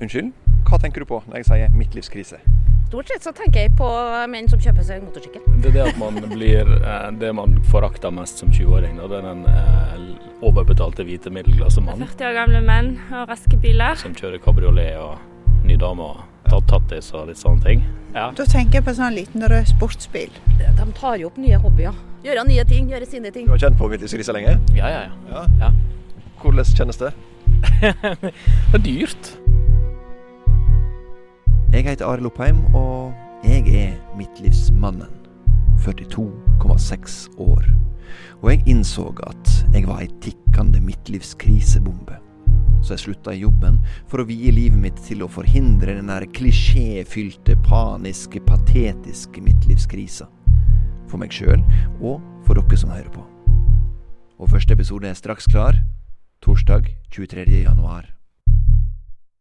Unnskyld, hva tenker du på når jeg sier 'midtlivskrise'? Stort sett så tenker jeg på menn som kjøper seg motorsykkel. Det er det at man blir eh, det man forakter mest som 20-åring. da. Det er den eh, overbetalte hvite middelklassemannen 40 år gamle menn og raske biler. som kjører kabriolet og ny dame og tatt tattis og litt sånne ting. Ja. Da tenker jeg på en sånn liten rød sportsbil. De tar jo opp nye hobbyer. Gjøre nye ting, gjøre sine ting. Du har kjent på midtlivskrise lenge? Ja, ja, ja. Hvordan kjennes det? Det er dyrt. Jeg heter Arild Oppheim, og jeg er midtlivsmannen. 42,6 år. Og jeg innså at jeg var ei tikkende midtlivskrisebombe. Så jeg slutta i jobben for å vie livet mitt til å forhindre den der klisjéfylte, paniske, patetiske midtlivskrisa. For meg sjøl, og for dere som hører på. Og første episode er straks klar. Torsdag 23. januar.